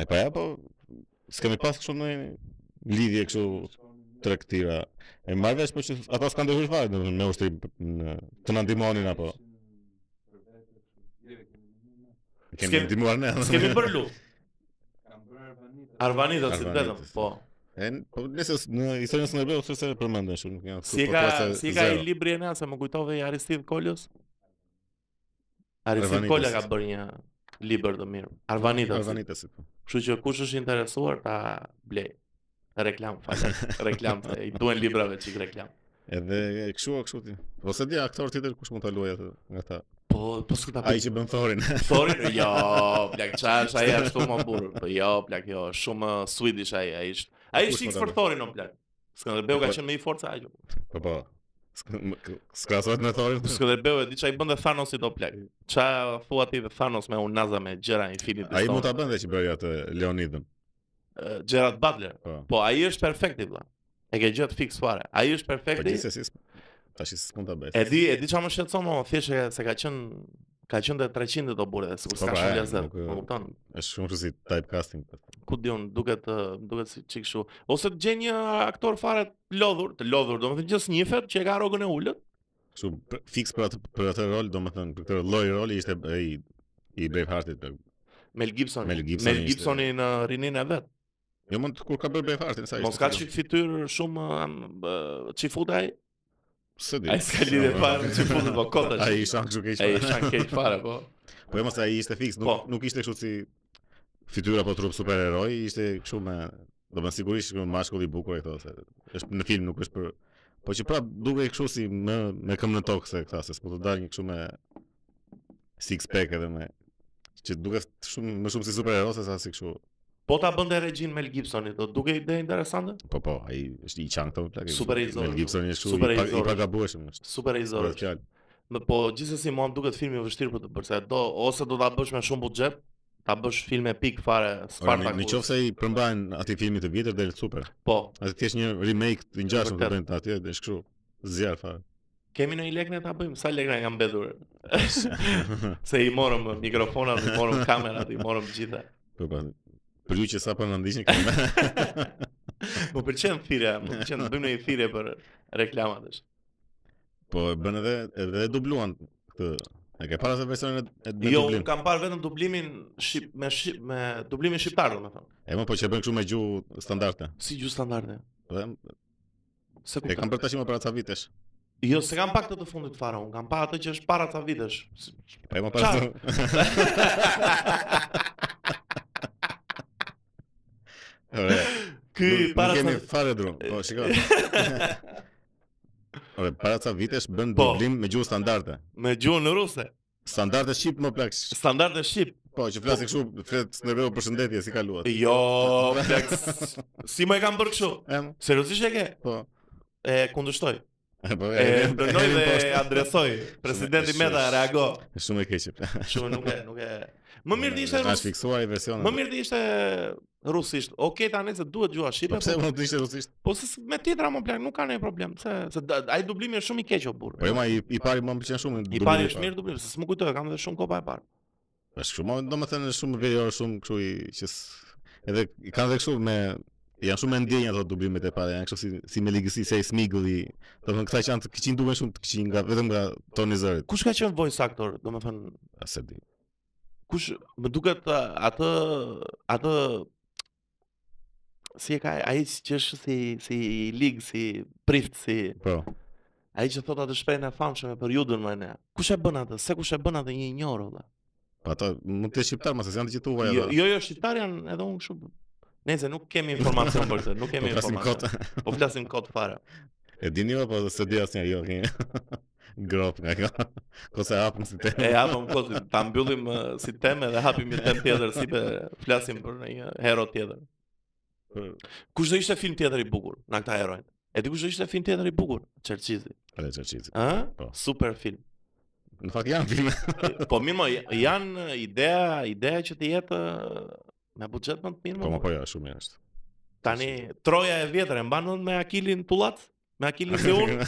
A: E pa ja po s'kemi pas kështu në lidhje kështu tregtira. E marr vesh po që ata s'kan dëgjuar fare domethënë me ushtrim p- në të na ndihmonin apo. E Kemi
B: S'kemi-
A: ndihmuar ne.
B: S'kemi bërë lut. Arvanita si të vetëm,
A: Arvanitës.
B: po.
A: E n- po nëse s- në historinë e Ngebeu thjesht e përmenden shumë, nuk janë.
B: Si e ka si e ka i libri e na se më kujtove i Aristid Kolës? Aristid
A: Arvanitës.
B: Kola ka bërë një libër të mirë. Arvanita.
A: Arvanitës. po.
B: Kështu që kush është interesuar ta blej. Reklam, [laughs] falem, reklam, se i duen librave çik reklam.
A: Edhe e kështu o kështu ti. Ose di aktor tjetër kush mund ta luajë atë nga ata.
B: Po, po s'ku ta
A: Ai që bën Thorin. [laughs]
B: Thorin, jo, plak çash, ai ashtu më burr. Po jo, plak jo, shumë uh, Swedish ai, ai është. Ai
A: Kush
B: është
A: më
B: X
A: ka
B: për
A: bërë?
B: Thorin o plak. Skënderbeu ka
A: Po-
B: qenë me i forca ajo.
A: Po po. S'k- m- k- S'krahasohet me Thorin.
B: Skënderbeu e di çai bën dhe Thanosit o plak. Ça thua ti dhe Thanos me Unaza me gjëra Infinity
A: [laughs] Ai mund ta
B: Stone.
A: bënte që bëri atë Leonidën.
B: Ai Gerard Butler.
A: Po.
B: Po ai është perfekti vlla. E ke gjatë fiks fare. Ai është
A: Po
B: perfekti.
A: gjithsesi s- tash s'mund ta bëj.
B: E di, e di çfarë më shqetëson më, thjesht e- se ka qenë ka qenë te 300 të burrë, sikur
A: Po,
B: s'ka
A: pra,
B: shumë
A: e,
B: lezet.
A: nuk, e-
B: Më kupton?
A: Është shumë rësi typecasting. po.
B: ku di unë, duket, ë, më duket si çik kështu. Ose të gjej një aktor fare të lodhur, të lodhur, domethënë gjithë njëfet që e ka rrogën e ulët.
A: Kështu pr- fiks për atë për atë rol, domethënë për këtë lloj roli ishte ai i Braveheartit. po.
B: Mel Gibson.
A: Mel Gibsoni ishte-
B: Gibsoni në rinin e vet.
A: Jo mund kur ka bërë Braveheartin sa ishte.
B: Mos ka çik fytyrë shumë am, ë, çifut ai.
A: Se di.
B: Ai
A: [laughs]
B: s'ka lidhje fare me çifut, po kot
A: Ai
B: [laughs] tash.
A: ishte kështu keq.
B: Ai
A: fare.
B: shan keq fare po.
A: Po e mos ai ishte fiks, nuk,
B: Po.
A: nuk ishte kështu si fytyra po trup superheroj, ishte kështu me do më sigurisht kështu mashkull i bukur e këto se është në film nuk është për po që prap duke kështu si me me këmbë në tokë se këta se s'po të dalë një kështu me six pack edhe me që duket shumë më shumë si superhero se sa si kështu.
B: Po ta bënte regjin Mel Gibsoni, do duke ide interesante.
A: Po po, ai është i çantë plak.
B: Super i zorë,
A: Mel Gibson është kështu
B: super
A: i
B: i
A: pa- i
B: zorë.
A: pagabueshëm është.
B: Super e
A: Për
B: izor.
A: atë fjalë.
B: Më po gjithsesi mua më duket filmi i vështirë për të bërë, se do ose do ta bësh me shumë buxhet, ta bësh film epik fare
A: Ora,
B: Spartak.
A: Në qoftë se Pra, i përmbajnë atij filmi të vjetër del super.
B: Po,
A: Atë thjesht një remake të ngjashëm të
B: Vërtet.
A: bëjnë atje, është kështu. Zjarr fare.
B: [laughs] Kemi në i lekne ta bëjmë, sa lekne nga
A: [laughs]
B: mbedur Se i morëm mikrofonat, i morëm kamerat, i morëm gjitha
A: Po po. Për ju që sa po na ndiqni këtu.
B: [laughs] Më përqen thire, më përqen të bëjmë në i thire për reklamat është
A: Po e bën edhe edhe e dubluan këtë. E ke para se versionin e- e me
B: Jo,
A: dublim.
B: unë kam parë vetëm dublimin shqip, me, shqip, me dublimin shqiptar, do me thonë
A: E më po që e bën kështu me gjuhë standarde.
B: Si gjuhë standarde
A: Po e-
B: Se
A: e kam për
B: kuptoj.
A: tash më para ca vitesh.
B: Jo, se kam pak të të fundit fara, unë kam pa atë që është para ca
A: [laughs]
B: vitesh Si-
A: Po e më para.
B: Qa?
A: [laughs] Ore.
B: Ky
A: nuk-
B: para
A: nuk kemi
B: ca...
A: fare drum. Po
B: [laughs]
A: shikoj. Ore, para ca vitesh bën
B: Po.
A: dublim me gjuhë standarde.
B: me gjuhën ruse
A: Standarde shqip më plak.
B: Standarde shqip
A: Po, që flasin kështu, flet Sneveu përshëndetje, si kaluat.
B: Jo,
A: [laughs]
B: plak, s- si më e kam bërë kështu
A: Em,
B: Seriosisht e ke?
A: po.
B: E kundështoj
A: E, po, e,
B: E
A: e,
B: dënoj
A: e,
B: dhe
A: poshtë.
B: adresoj Presidenti
A: shumë-
B: Meta reago
A: Është Shumë e keqe. pla.
B: Shumë nuk e nuk e Më mirë të ishte
A: Është
B: rus
A: fiksuar i versioni.
B: Më mirë të ishte rusisht Okej tani se duhet gjua
A: Po
B: shqipe
A: pse
B: po-
A: mund të ishte rusisht?
B: Po se s- me tjetra më plak nuk ka ndonjë problem Se, se da- ai dublimi është shumë i keq o burr
A: Po jo, ma i, i pari më pëlqen shumë.
B: I
A: dublimi
B: pari është mirë dublimi Se s'më kujtoj kam edhe shumë kopa e parë
A: Është shumë, domethënë është shumë verior, shumë kështu i që s- edhe i kanë dhe kështu me janë shumë e ndjenjë ato dublimet e para, janë kështu si si me ligësi se ai smigulli. Domethënë këta që janë të këqin duhen shumë të këqin nga vetëm nga toni i zërit.
B: Kush ka qenë voice actor domethënë
A: A se di.
B: kush më duket a, atë atë si e ka ai që është si si i lig si prift si
A: Po.
B: Ai që thot atë shprehjen e famshme për Judën më ne. Kush e bën atë? Se kush e bën atë një injor valla.
A: Po ato mund të jetë shqiptar, mos Po, e janë të gjithë tuaj.
B: Jo, jo, jo shqiptar janë edhe unë kështu. Nëse nuk kemi informacion për këtë,
A: [laughs]
B: nuk
A: po
B: kemi
A: flasim kot.
B: informacion. Po flasim kot fare.
A: E dini apo se di asnjë jo. [laughs] keni- Grop nga kjo. Kose hapën si te.
B: E hapëm kot, ta mbyllim ë, si temë dhe hapim një temë tjetër si pe flasim për një hero tjetër.
A: Mm.
B: Kush do ishte film tjetër i bukur nga këta herojnë? E di kush do ishte film tjetër i bukur? Çerçizi.
A: Ale çaçici. Po.
B: Ë? Super film.
A: [laughs] Në fakt janë
B: [laughs]
A: filme.
B: Po mirë, mo, j- janë ideja, ideja që të jetë ë, me buxhet më të mirë.
A: Po
B: mo.
A: më po ja, shumë janë. është. [laughs]
B: Tani Troja e vjetër e mban mend me Akilin Tullat, me Akilin Seun.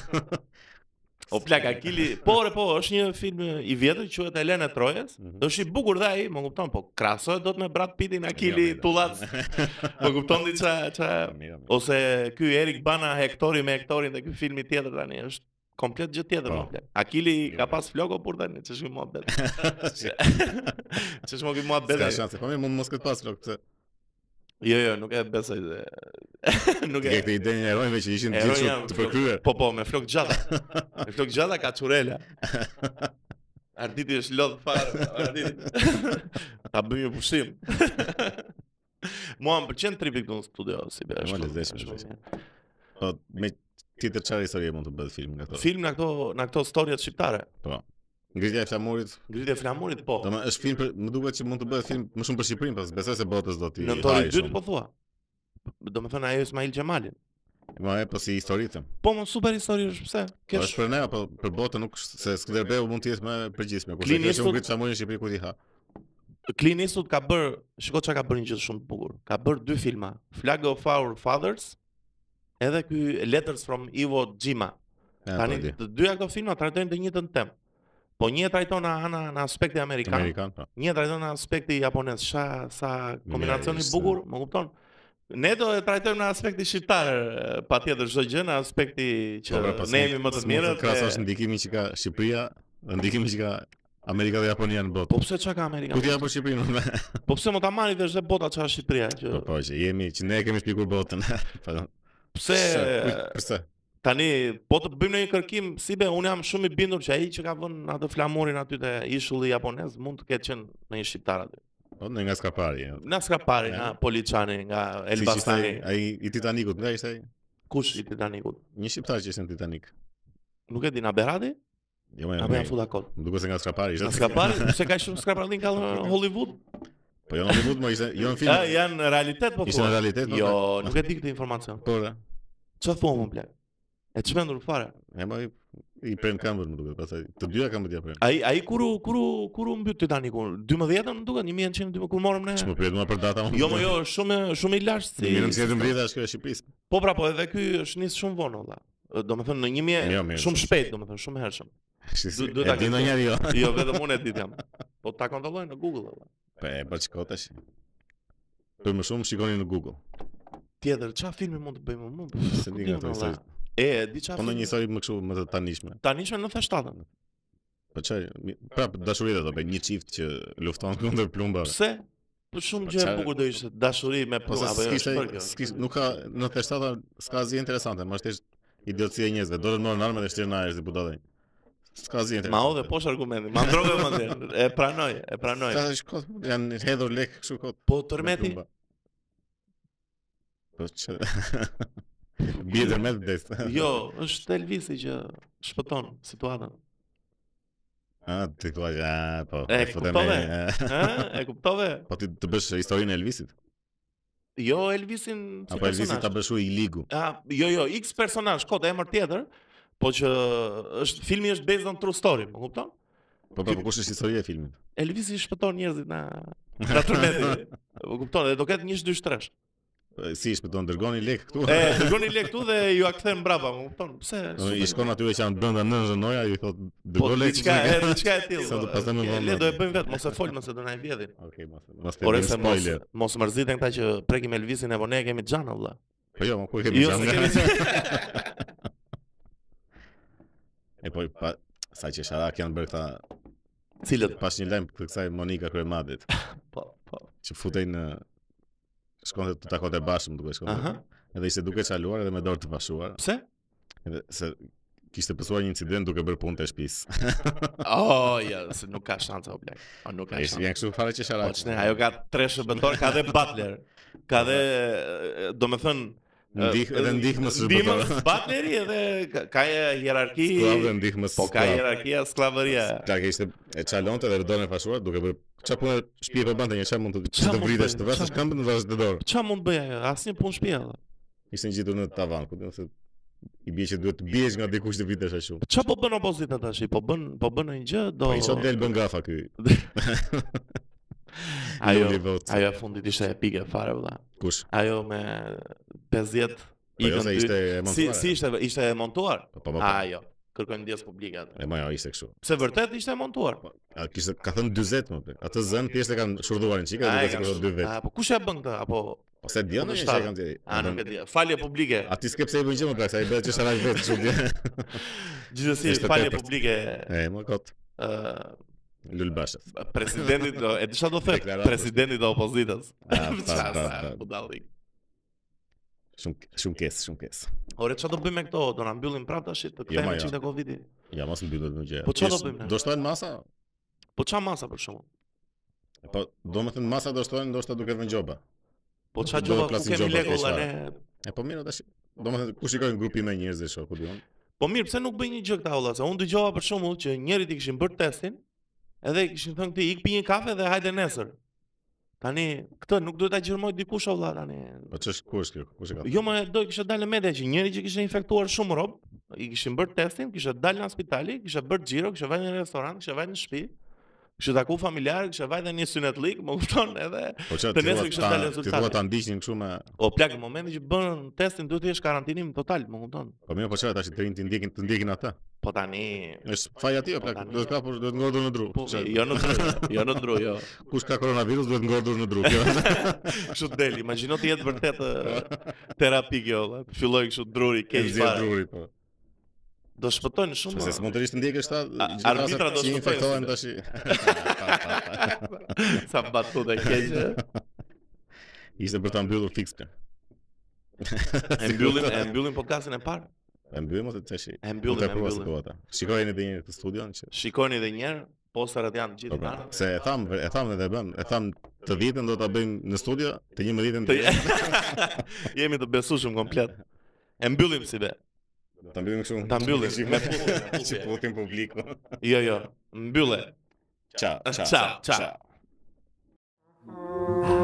B: O plak Akili, po re po, është një film i vjetër quhet Elena Trojes.
A: Mhm.
B: Është i bukur dhe ai, më kupton, po krahasohet dot me Brad Pittin Akili
A: mirë.
B: Tullac.
A: [laughs]
B: Më kupton di ça ça
A: Mira, mira.
B: ose ky Erik Bana Hektori me Hektorin dhe ky filmi tjetër tani është komplet gjë tjetër
A: Po.
B: më plak. Akili
A: Mirë,
B: ka
A: mirë.
B: pas floko por tani, ç'është ky
A: [laughs]
B: muhabet. [laughs] Ç'është më ky muhabet.
A: Ska
B: tani?
A: shanse, po mirë, mund mos këtë pas flok pse.
B: Jo, jo, nuk e besoj. se... [laughs] nuk
A: Ke
B: e
A: këtë idenë e erojnëve që ishin
B: Eroj
A: gjithë
B: janë
A: shumë të përkryer.
B: Po po, me flok gjata. Me flok gjata ka
A: [laughs]
B: çurela. Arditi është lodh fare,
A: [laughs]
B: Arditi. Ta bëj një pushim. Mua më pëlqen tripi këtu në studio, si be.
A: Ma
B: është-
A: lezetshme,
B: është-
A: lezetshme. Po me tjetër çfarë historie mund të bëhet film nga ato?
B: Film në këto në këto storjet shqiptare.
A: Ngritja e flamurit,
B: Ngritje e flamurit po.
A: domethënë është film për, më duket që mund të bëhet film më shumë për Shqipërinë, pas besoj se botës do t'i
B: Në
A: hajë
B: torë dytë
A: shumë.
B: po thua. Do më thënë ajo Ismail Gjemali.
A: Ma e po si historitëm.
B: Po më super histori është pse?
A: Po
B: Kesh
A: është për ne apo për botën nuk është se Skënderbeu mund të jetë më e përgjithshme. Kurse
B: Clint
A: kjo që
B: Eastwood-
A: unë ngrit flamurin në Shqipëri ku ti ha.
B: Clint Eastwood ka bër, shiko çka ka bërë një gjë shumë të bukur. Ka bër dy filma, Flag of Our Fathers, edhe ky Letters from Iwo Jima.
A: Ja,
B: Tani
A: po, di.
B: të dyja këto filma trajtojnë të njëjtën temë. Po një e trajton në ana në aspektin amerikan,
A: Amerikan, po.
B: një e trajton në aspektin japonez. Sa sa kombinacion i
A: ishte.
B: bukur, më kupton? Ne do e trajtojmë në aspektin shqiptar, e, patjetër çdo gjë në aspekti që
A: Po, pra, pas
B: ne
A: mund-
B: jemi më të
A: s'mund
B: mirët.
A: Krahasosh
B: e-
A: ndikimin që ka Shqipëria dhe ndikimin që ka Amerika dhe Japonia në botë.
B: Po pse çka ka Amerika?
A: Ku ti apo Shqipërinë? unë?
B: Po pse mo ta marrë vesh dhe bota çka është Shqipëria që
A: [laughs] Po po, që jemi që ne e kemi shpjeguar botën. [laughs] Po.
B: pse
A: Sa- Pse?
B: Tani, po të bëjmë në një kërkim, si be, unë jam shumë i bindur që ai që ka vënë atë flamurin aty te ishulli japonez mund të ketë qenë në një shqiptar aty.
A: Po ne nga skapari. ja.
B: Nga Skrapari,
A: Ja.
B: nga Poliçani, nga
A: Si që ishte
B: Elbastani,
A: ai- ai i Titanikut, nga ishte ai?
B: kush i Titanikut?
A: Një shqiptar që ishte në Titanik.
B: Nuk e di, na Berati?
A: Jo më.
B: Apo janë full dakord?
A: Më duket se nga skapari
B: Nga
A: ishte.
B: Skrapari, pse ka shumë Skrapari
A: [laughs]
B: ka në Hollywood?
A: Po jo në Hollywood, mo ishte, jo në film.
B: [laughs] Ja, janë në realitet po
A: Ishte në
B: thua.
A: realitet, Po, mo.
B: Jo,
A: pra.
B: nuk e di këtë informacion.
A: Por, e,
B: Çfarë thua më blek? E çmendur fare.
A: e mo i- i prem këmbën më duket, pastaj të dyja këmbët ja prem.
B: Ai ai kuru kuru kuru mbyt Titanikun 12-ën më duket 1912 kur morëm ne.
A: Ç'më priet mua për data.
B: Jo, më jo, është shumë shumë i lashtë si.
A: Mirë, më sjellën vjeta është kjo e Shqipërisë.
B: Po pra, po edhe ky është nis shumë vonë valla. Do më thënë në një
A: Jo,
B: mje
A: mirë,
B: shumë
A: shumë
B: shpejt, do më thënë shumë
A: [laughs]
B: hershëm.
A: Si- si-
B: Du- du
A: e
B: ta
A: di
B: ke-
A: ndonjëherë jo.
B: Jo, vetëm unë e di jam. Po ta kontrolloj në Google valla.
A: Po e po çko tash. Për më shumë shikoni në Google.
B: Tjetër, çfarë filmi mund të bëjmë më? Pff,
A: Se
B: ku
A: di
B: di
A: nga
B: unë,
A: ato
B: valla.
A: histori.
B: E, e di çfarë.
A: Po ndonjë histori më kështu më të tanishme.
B: Tani në 97-ën.
A: Po çfarë, mi- prap dashuritë do bëj një çift që lufton [laughs] kundër plumbave.
B: Pse? Po shumë
A: Po
B: gjë e
A: çfarë-
B: bukur do ishte dashuri me
A: Po
B: punë
A: se
B: apo jo.
A: s'kishte,
B: çfarë kjo?
A: s'kishte, nuk ka, në të shtata s'ka zi interesante, ma shtesh idiotësia e njerëzve, do të morën armë dhe shtirë në ajër si po budallë. S'ka zi interesante.
B: Ma odhe poshtë argumenti, ma ndrove më dhe, e pranoj, e pranoj.
A: Ka shkot, janë hedhur lek kështu kot.
B: Po
A: me
B: tërmeti,
A: plumba. Po që... [laughs] Bje tërmet vdes.
B: [laughs] jo, është Elvisi që shpëton situatën.
A: A, ti thua, a, po.
B: E,
A: po të
B: kuptove?
A: me-
B: Ë, e kuptove?
A: Po ti të bësh historinë e Elvisit?
B: Jo Elvisin si
A: Apo Elvisi ta
B: personazh.
A: bësh u i ligu?
B: A, jo, jo, X personazh, kod emër tjetër, po që është filmi është based on true story, më kupton?
A: Po po, po kush është historia e filmit?
B: Elvisi shpëton njerëzit na na
A: [laughs]
B: tërmeti. Më kupton, dhe do ketë 1-2-3.
A: Po, Si i shpëton dërgoni lek këtu?
B: E,
A: [laughs]
B: dërgoni lek këtu dhe ju a kthem brapa, më kupton? Pse?
A: Po, I shkon aty që janë brenda nënën noja, ju thot
B: Po
A: dërgo lek.
B: diçka, e diçka e tillë.
A: [laughs] Sa do
B: po,
A: pastaj më
B: e,
A: vonë.
B: Le do e bëjmë vetë, mos e folim se do na e
A: [laughs]
B: vjedhin.
A: Okej, mos mos të
B: Por
A: bëj
B: se mos
A: spoiler.
B: mos mërziten këta që prekim Elvisin e vonë kemi xhan valla.
A: Po jo, ma ku e kemi
B: Jo, se
A: gjatë. [laughs]
B: kemi
A: E po pa sa që sharak janë bërë këta
B: cilët.
A: pas një lajm të kësaj Monika Kryemadit
B: Po, po.
A: që futej në shkonte të takonte bashkë, më duket shkonte.
B: Aha.
A: Edhe ishte duke çaluar edhe me dorë të pashuar,
B: Pse?
A: edhe se kishte pësuar një incident duke bërë punë të
B: [laughs]
A: shtëpisë.
B: Oh, ja, se nuk ka shanse o blek. O nuk ka
A: Ai ishte
B: shanse.
A: janë kështu fare që
B: Po
A: sharak.
B: çne, ajo ka tre shërbëtor, ka dhe butler. Ka dhe, do me thënë,
A: Ndih, edhe ndihmës së
B: Ndihmës [laughs] butleri edhe ka- ka e hierarki.
A: Skllavë dhe ndihmës.
B: Po ka hierarkia, sklavëria.
A: Ka që ishte e çalonte dhe dorën e pashuar duke bërë çfarë punë shtëpi po bante një çfarë mund të
B: Çfarë
A: të
B: mund
A: vritesh
B: bëjnë?
A: të vrasësh
B: Çfarë-
A: këmbën të vrasësh të dorë.
B: Qa Po, mund bëj ajo? Asnjë punë shtëpi ajo.
A: Ishte ngjitur në tavan, ku do të thotë i bie që duhet të biesh nga dikush të vitesh ashtu.
B: Qa po bën opozita tash? Po bën, po bën një gjë do.
A: Po i çon del bën gafa ky.
B: Ajo,
A: Luli Vot.
B: ajo e fundit ishte epike fare valla.
A: kush?
B: Ajo me 50
A: Po jo
B: ikën
A: se Po, jo,
B: dy.
A: ishte e
B: Si
A: montuar.
B: si ishte ishte e montuar?
A: Po po po.
B: Ah, jo. kërkojnë ndjes publike atë.
A: E majo ishte kështu.
B: Pse vërtet ishte e montuar.
A: Po, A kishte ka thënë 40 më plak. Atë zën thjesht e kanë shurdhuar në çika,
B: A, e
A: duke se
B: kanë
A: kishte dy vet.
B: A po kush e bën këtë apo
A: Ose dion
B: Po,
A: e
B: në
A: ishte
B: shtatë.
A: kanë thënë.
B: a nuk e di. Falje publike.
A: A ti s'ke pse i bën gjë më plak, sa i bëhet që sharaj vetë kështu di.
B: [laughs] Gjithsesi
A: ishte
B: falje
A: tepërt.
B: publike
A: E më kot
B: ë
A: Lul Bashet.
B: [laughs] presidentit do- e di çfarë do thot
A: Deklaratës.
B: presidenti i opozitës.
A: A, pra, pa,
B: [laughs] Çfarë
A: pa,
B: sa
A: pa.
B: budallik.
A: Shumë shumë kes, shumë kes.
B: Ore çfarë do bëjmë me këto? Do na mbyllim prapë tash të
A: ma,
B: kthehemi
A: jo.
B: çik te Covidi.
A: Ja mos mbyllet më gjë.
B: Po çfarë do
A: Thjesht,
B: bëjmë ne?
A: Do shtojnë masa?
B: Po çfarë masa për shkakun?
A: Po do të thënë masa do shtojnë ndoshta duke vënë gjoba.
B: Po çfarë
A: Do
B: gjova ku
A: plasin
B: kemi
A: gjoba
B: legolla
A: keqfare.
B: ne?
A: E po mirë tash. Do të thënë ku shikojnë grupi me njerëz dhe shoku dion.
B: Po mirë, pse nuk bëj një gjë këta olla? Se unë dëgjova për shembull që njerit i kishin bërë testin, edhe i kishin thënë këtij ik pi një kafe dhe hajde nesër. Tani këtë nuk duhet ta gjërmoj dikush olla tani.
A: Po ç'është kush kjo? Kush e ka?
B: Jo më do i kishte dalë në media që njëri që kishte infektuar shumë rob, i kishin bërë testin, kishte dalë në spitali, kishte bërë xhiro, kishte vajtë në restoran, kishte vajtë në shtëpi, kishte taku familjar, kishte vajtë në një synetlik, më kupton edhe
A: Po ç'a
B: të
A: ti
B: nesër
A: thua
B: kishte
A: ta-
B: dalë
A: ti
B: rezultati.
A: thua ta ndiqnin kështu me
B: o plak në momentin që bën testin duhet të jesh karantinim total, më kupton.
A: Po mirë, po çfarë tash të rinë të ndjekin të ndjekin ata.
B: Po tani
A: Është faja ti apo plak?
B: Po, tani-
A: Duhet ka por duhet ngordur në dru.
B: Po,
A: Çfarë?
B: jo në dru, jo në dru, jo.
A: Kush ka koronavirus duhet ngordur në
B: [laughs]
A: dru. Kjo
B: Kështu del, imagjino të jetë vërtet ë, terapi kjo, valla. Filloi kështu druri
A: ke
B: keq
A: zgjedh
B: fare.
A: druri po.
B: Do shpëtojnë
A: Po,
B: shumë.
A: Se s'mund të rish të ndjekësh ta.
B: A-
A: gjithë rastet
B: arbitra do
A: që
B: shkëtojnë,
A: infektohen
B: si do.
A: tash.
B: [laughs] Sa batuta keq. ë.
A: [laughs] Ishte për ta mbyllur fiks plan.
B: E mbyllim, e mbyllim podcastin e parë.
A: E mbyllim ose tash.
B: E mbyllim,
A: Ta
B: e
A: prova
B: mbyllim.
A: situata. Shikojeni edhe një herë këtë studion që.
B: Shikoni edhe një herë, posterat janë gjithë
A: Po, po.
B: kanë.
A: Se e tham, e tham edhe bëm, e tham të dhjetën do ta bëjmë në studio, të 11-ën
B: Të [laughs] jemi të besueshëm komplet. E mbyllim si be.
A: ta mbyllim kështu.
B: Ta
A: [laughs]
B: mbyllim, me pull, me pull.
A: Si putin publiku.
B: Jo, jo. Mbylle.
A: Ciao, ciao.
B: Ciao, ciao.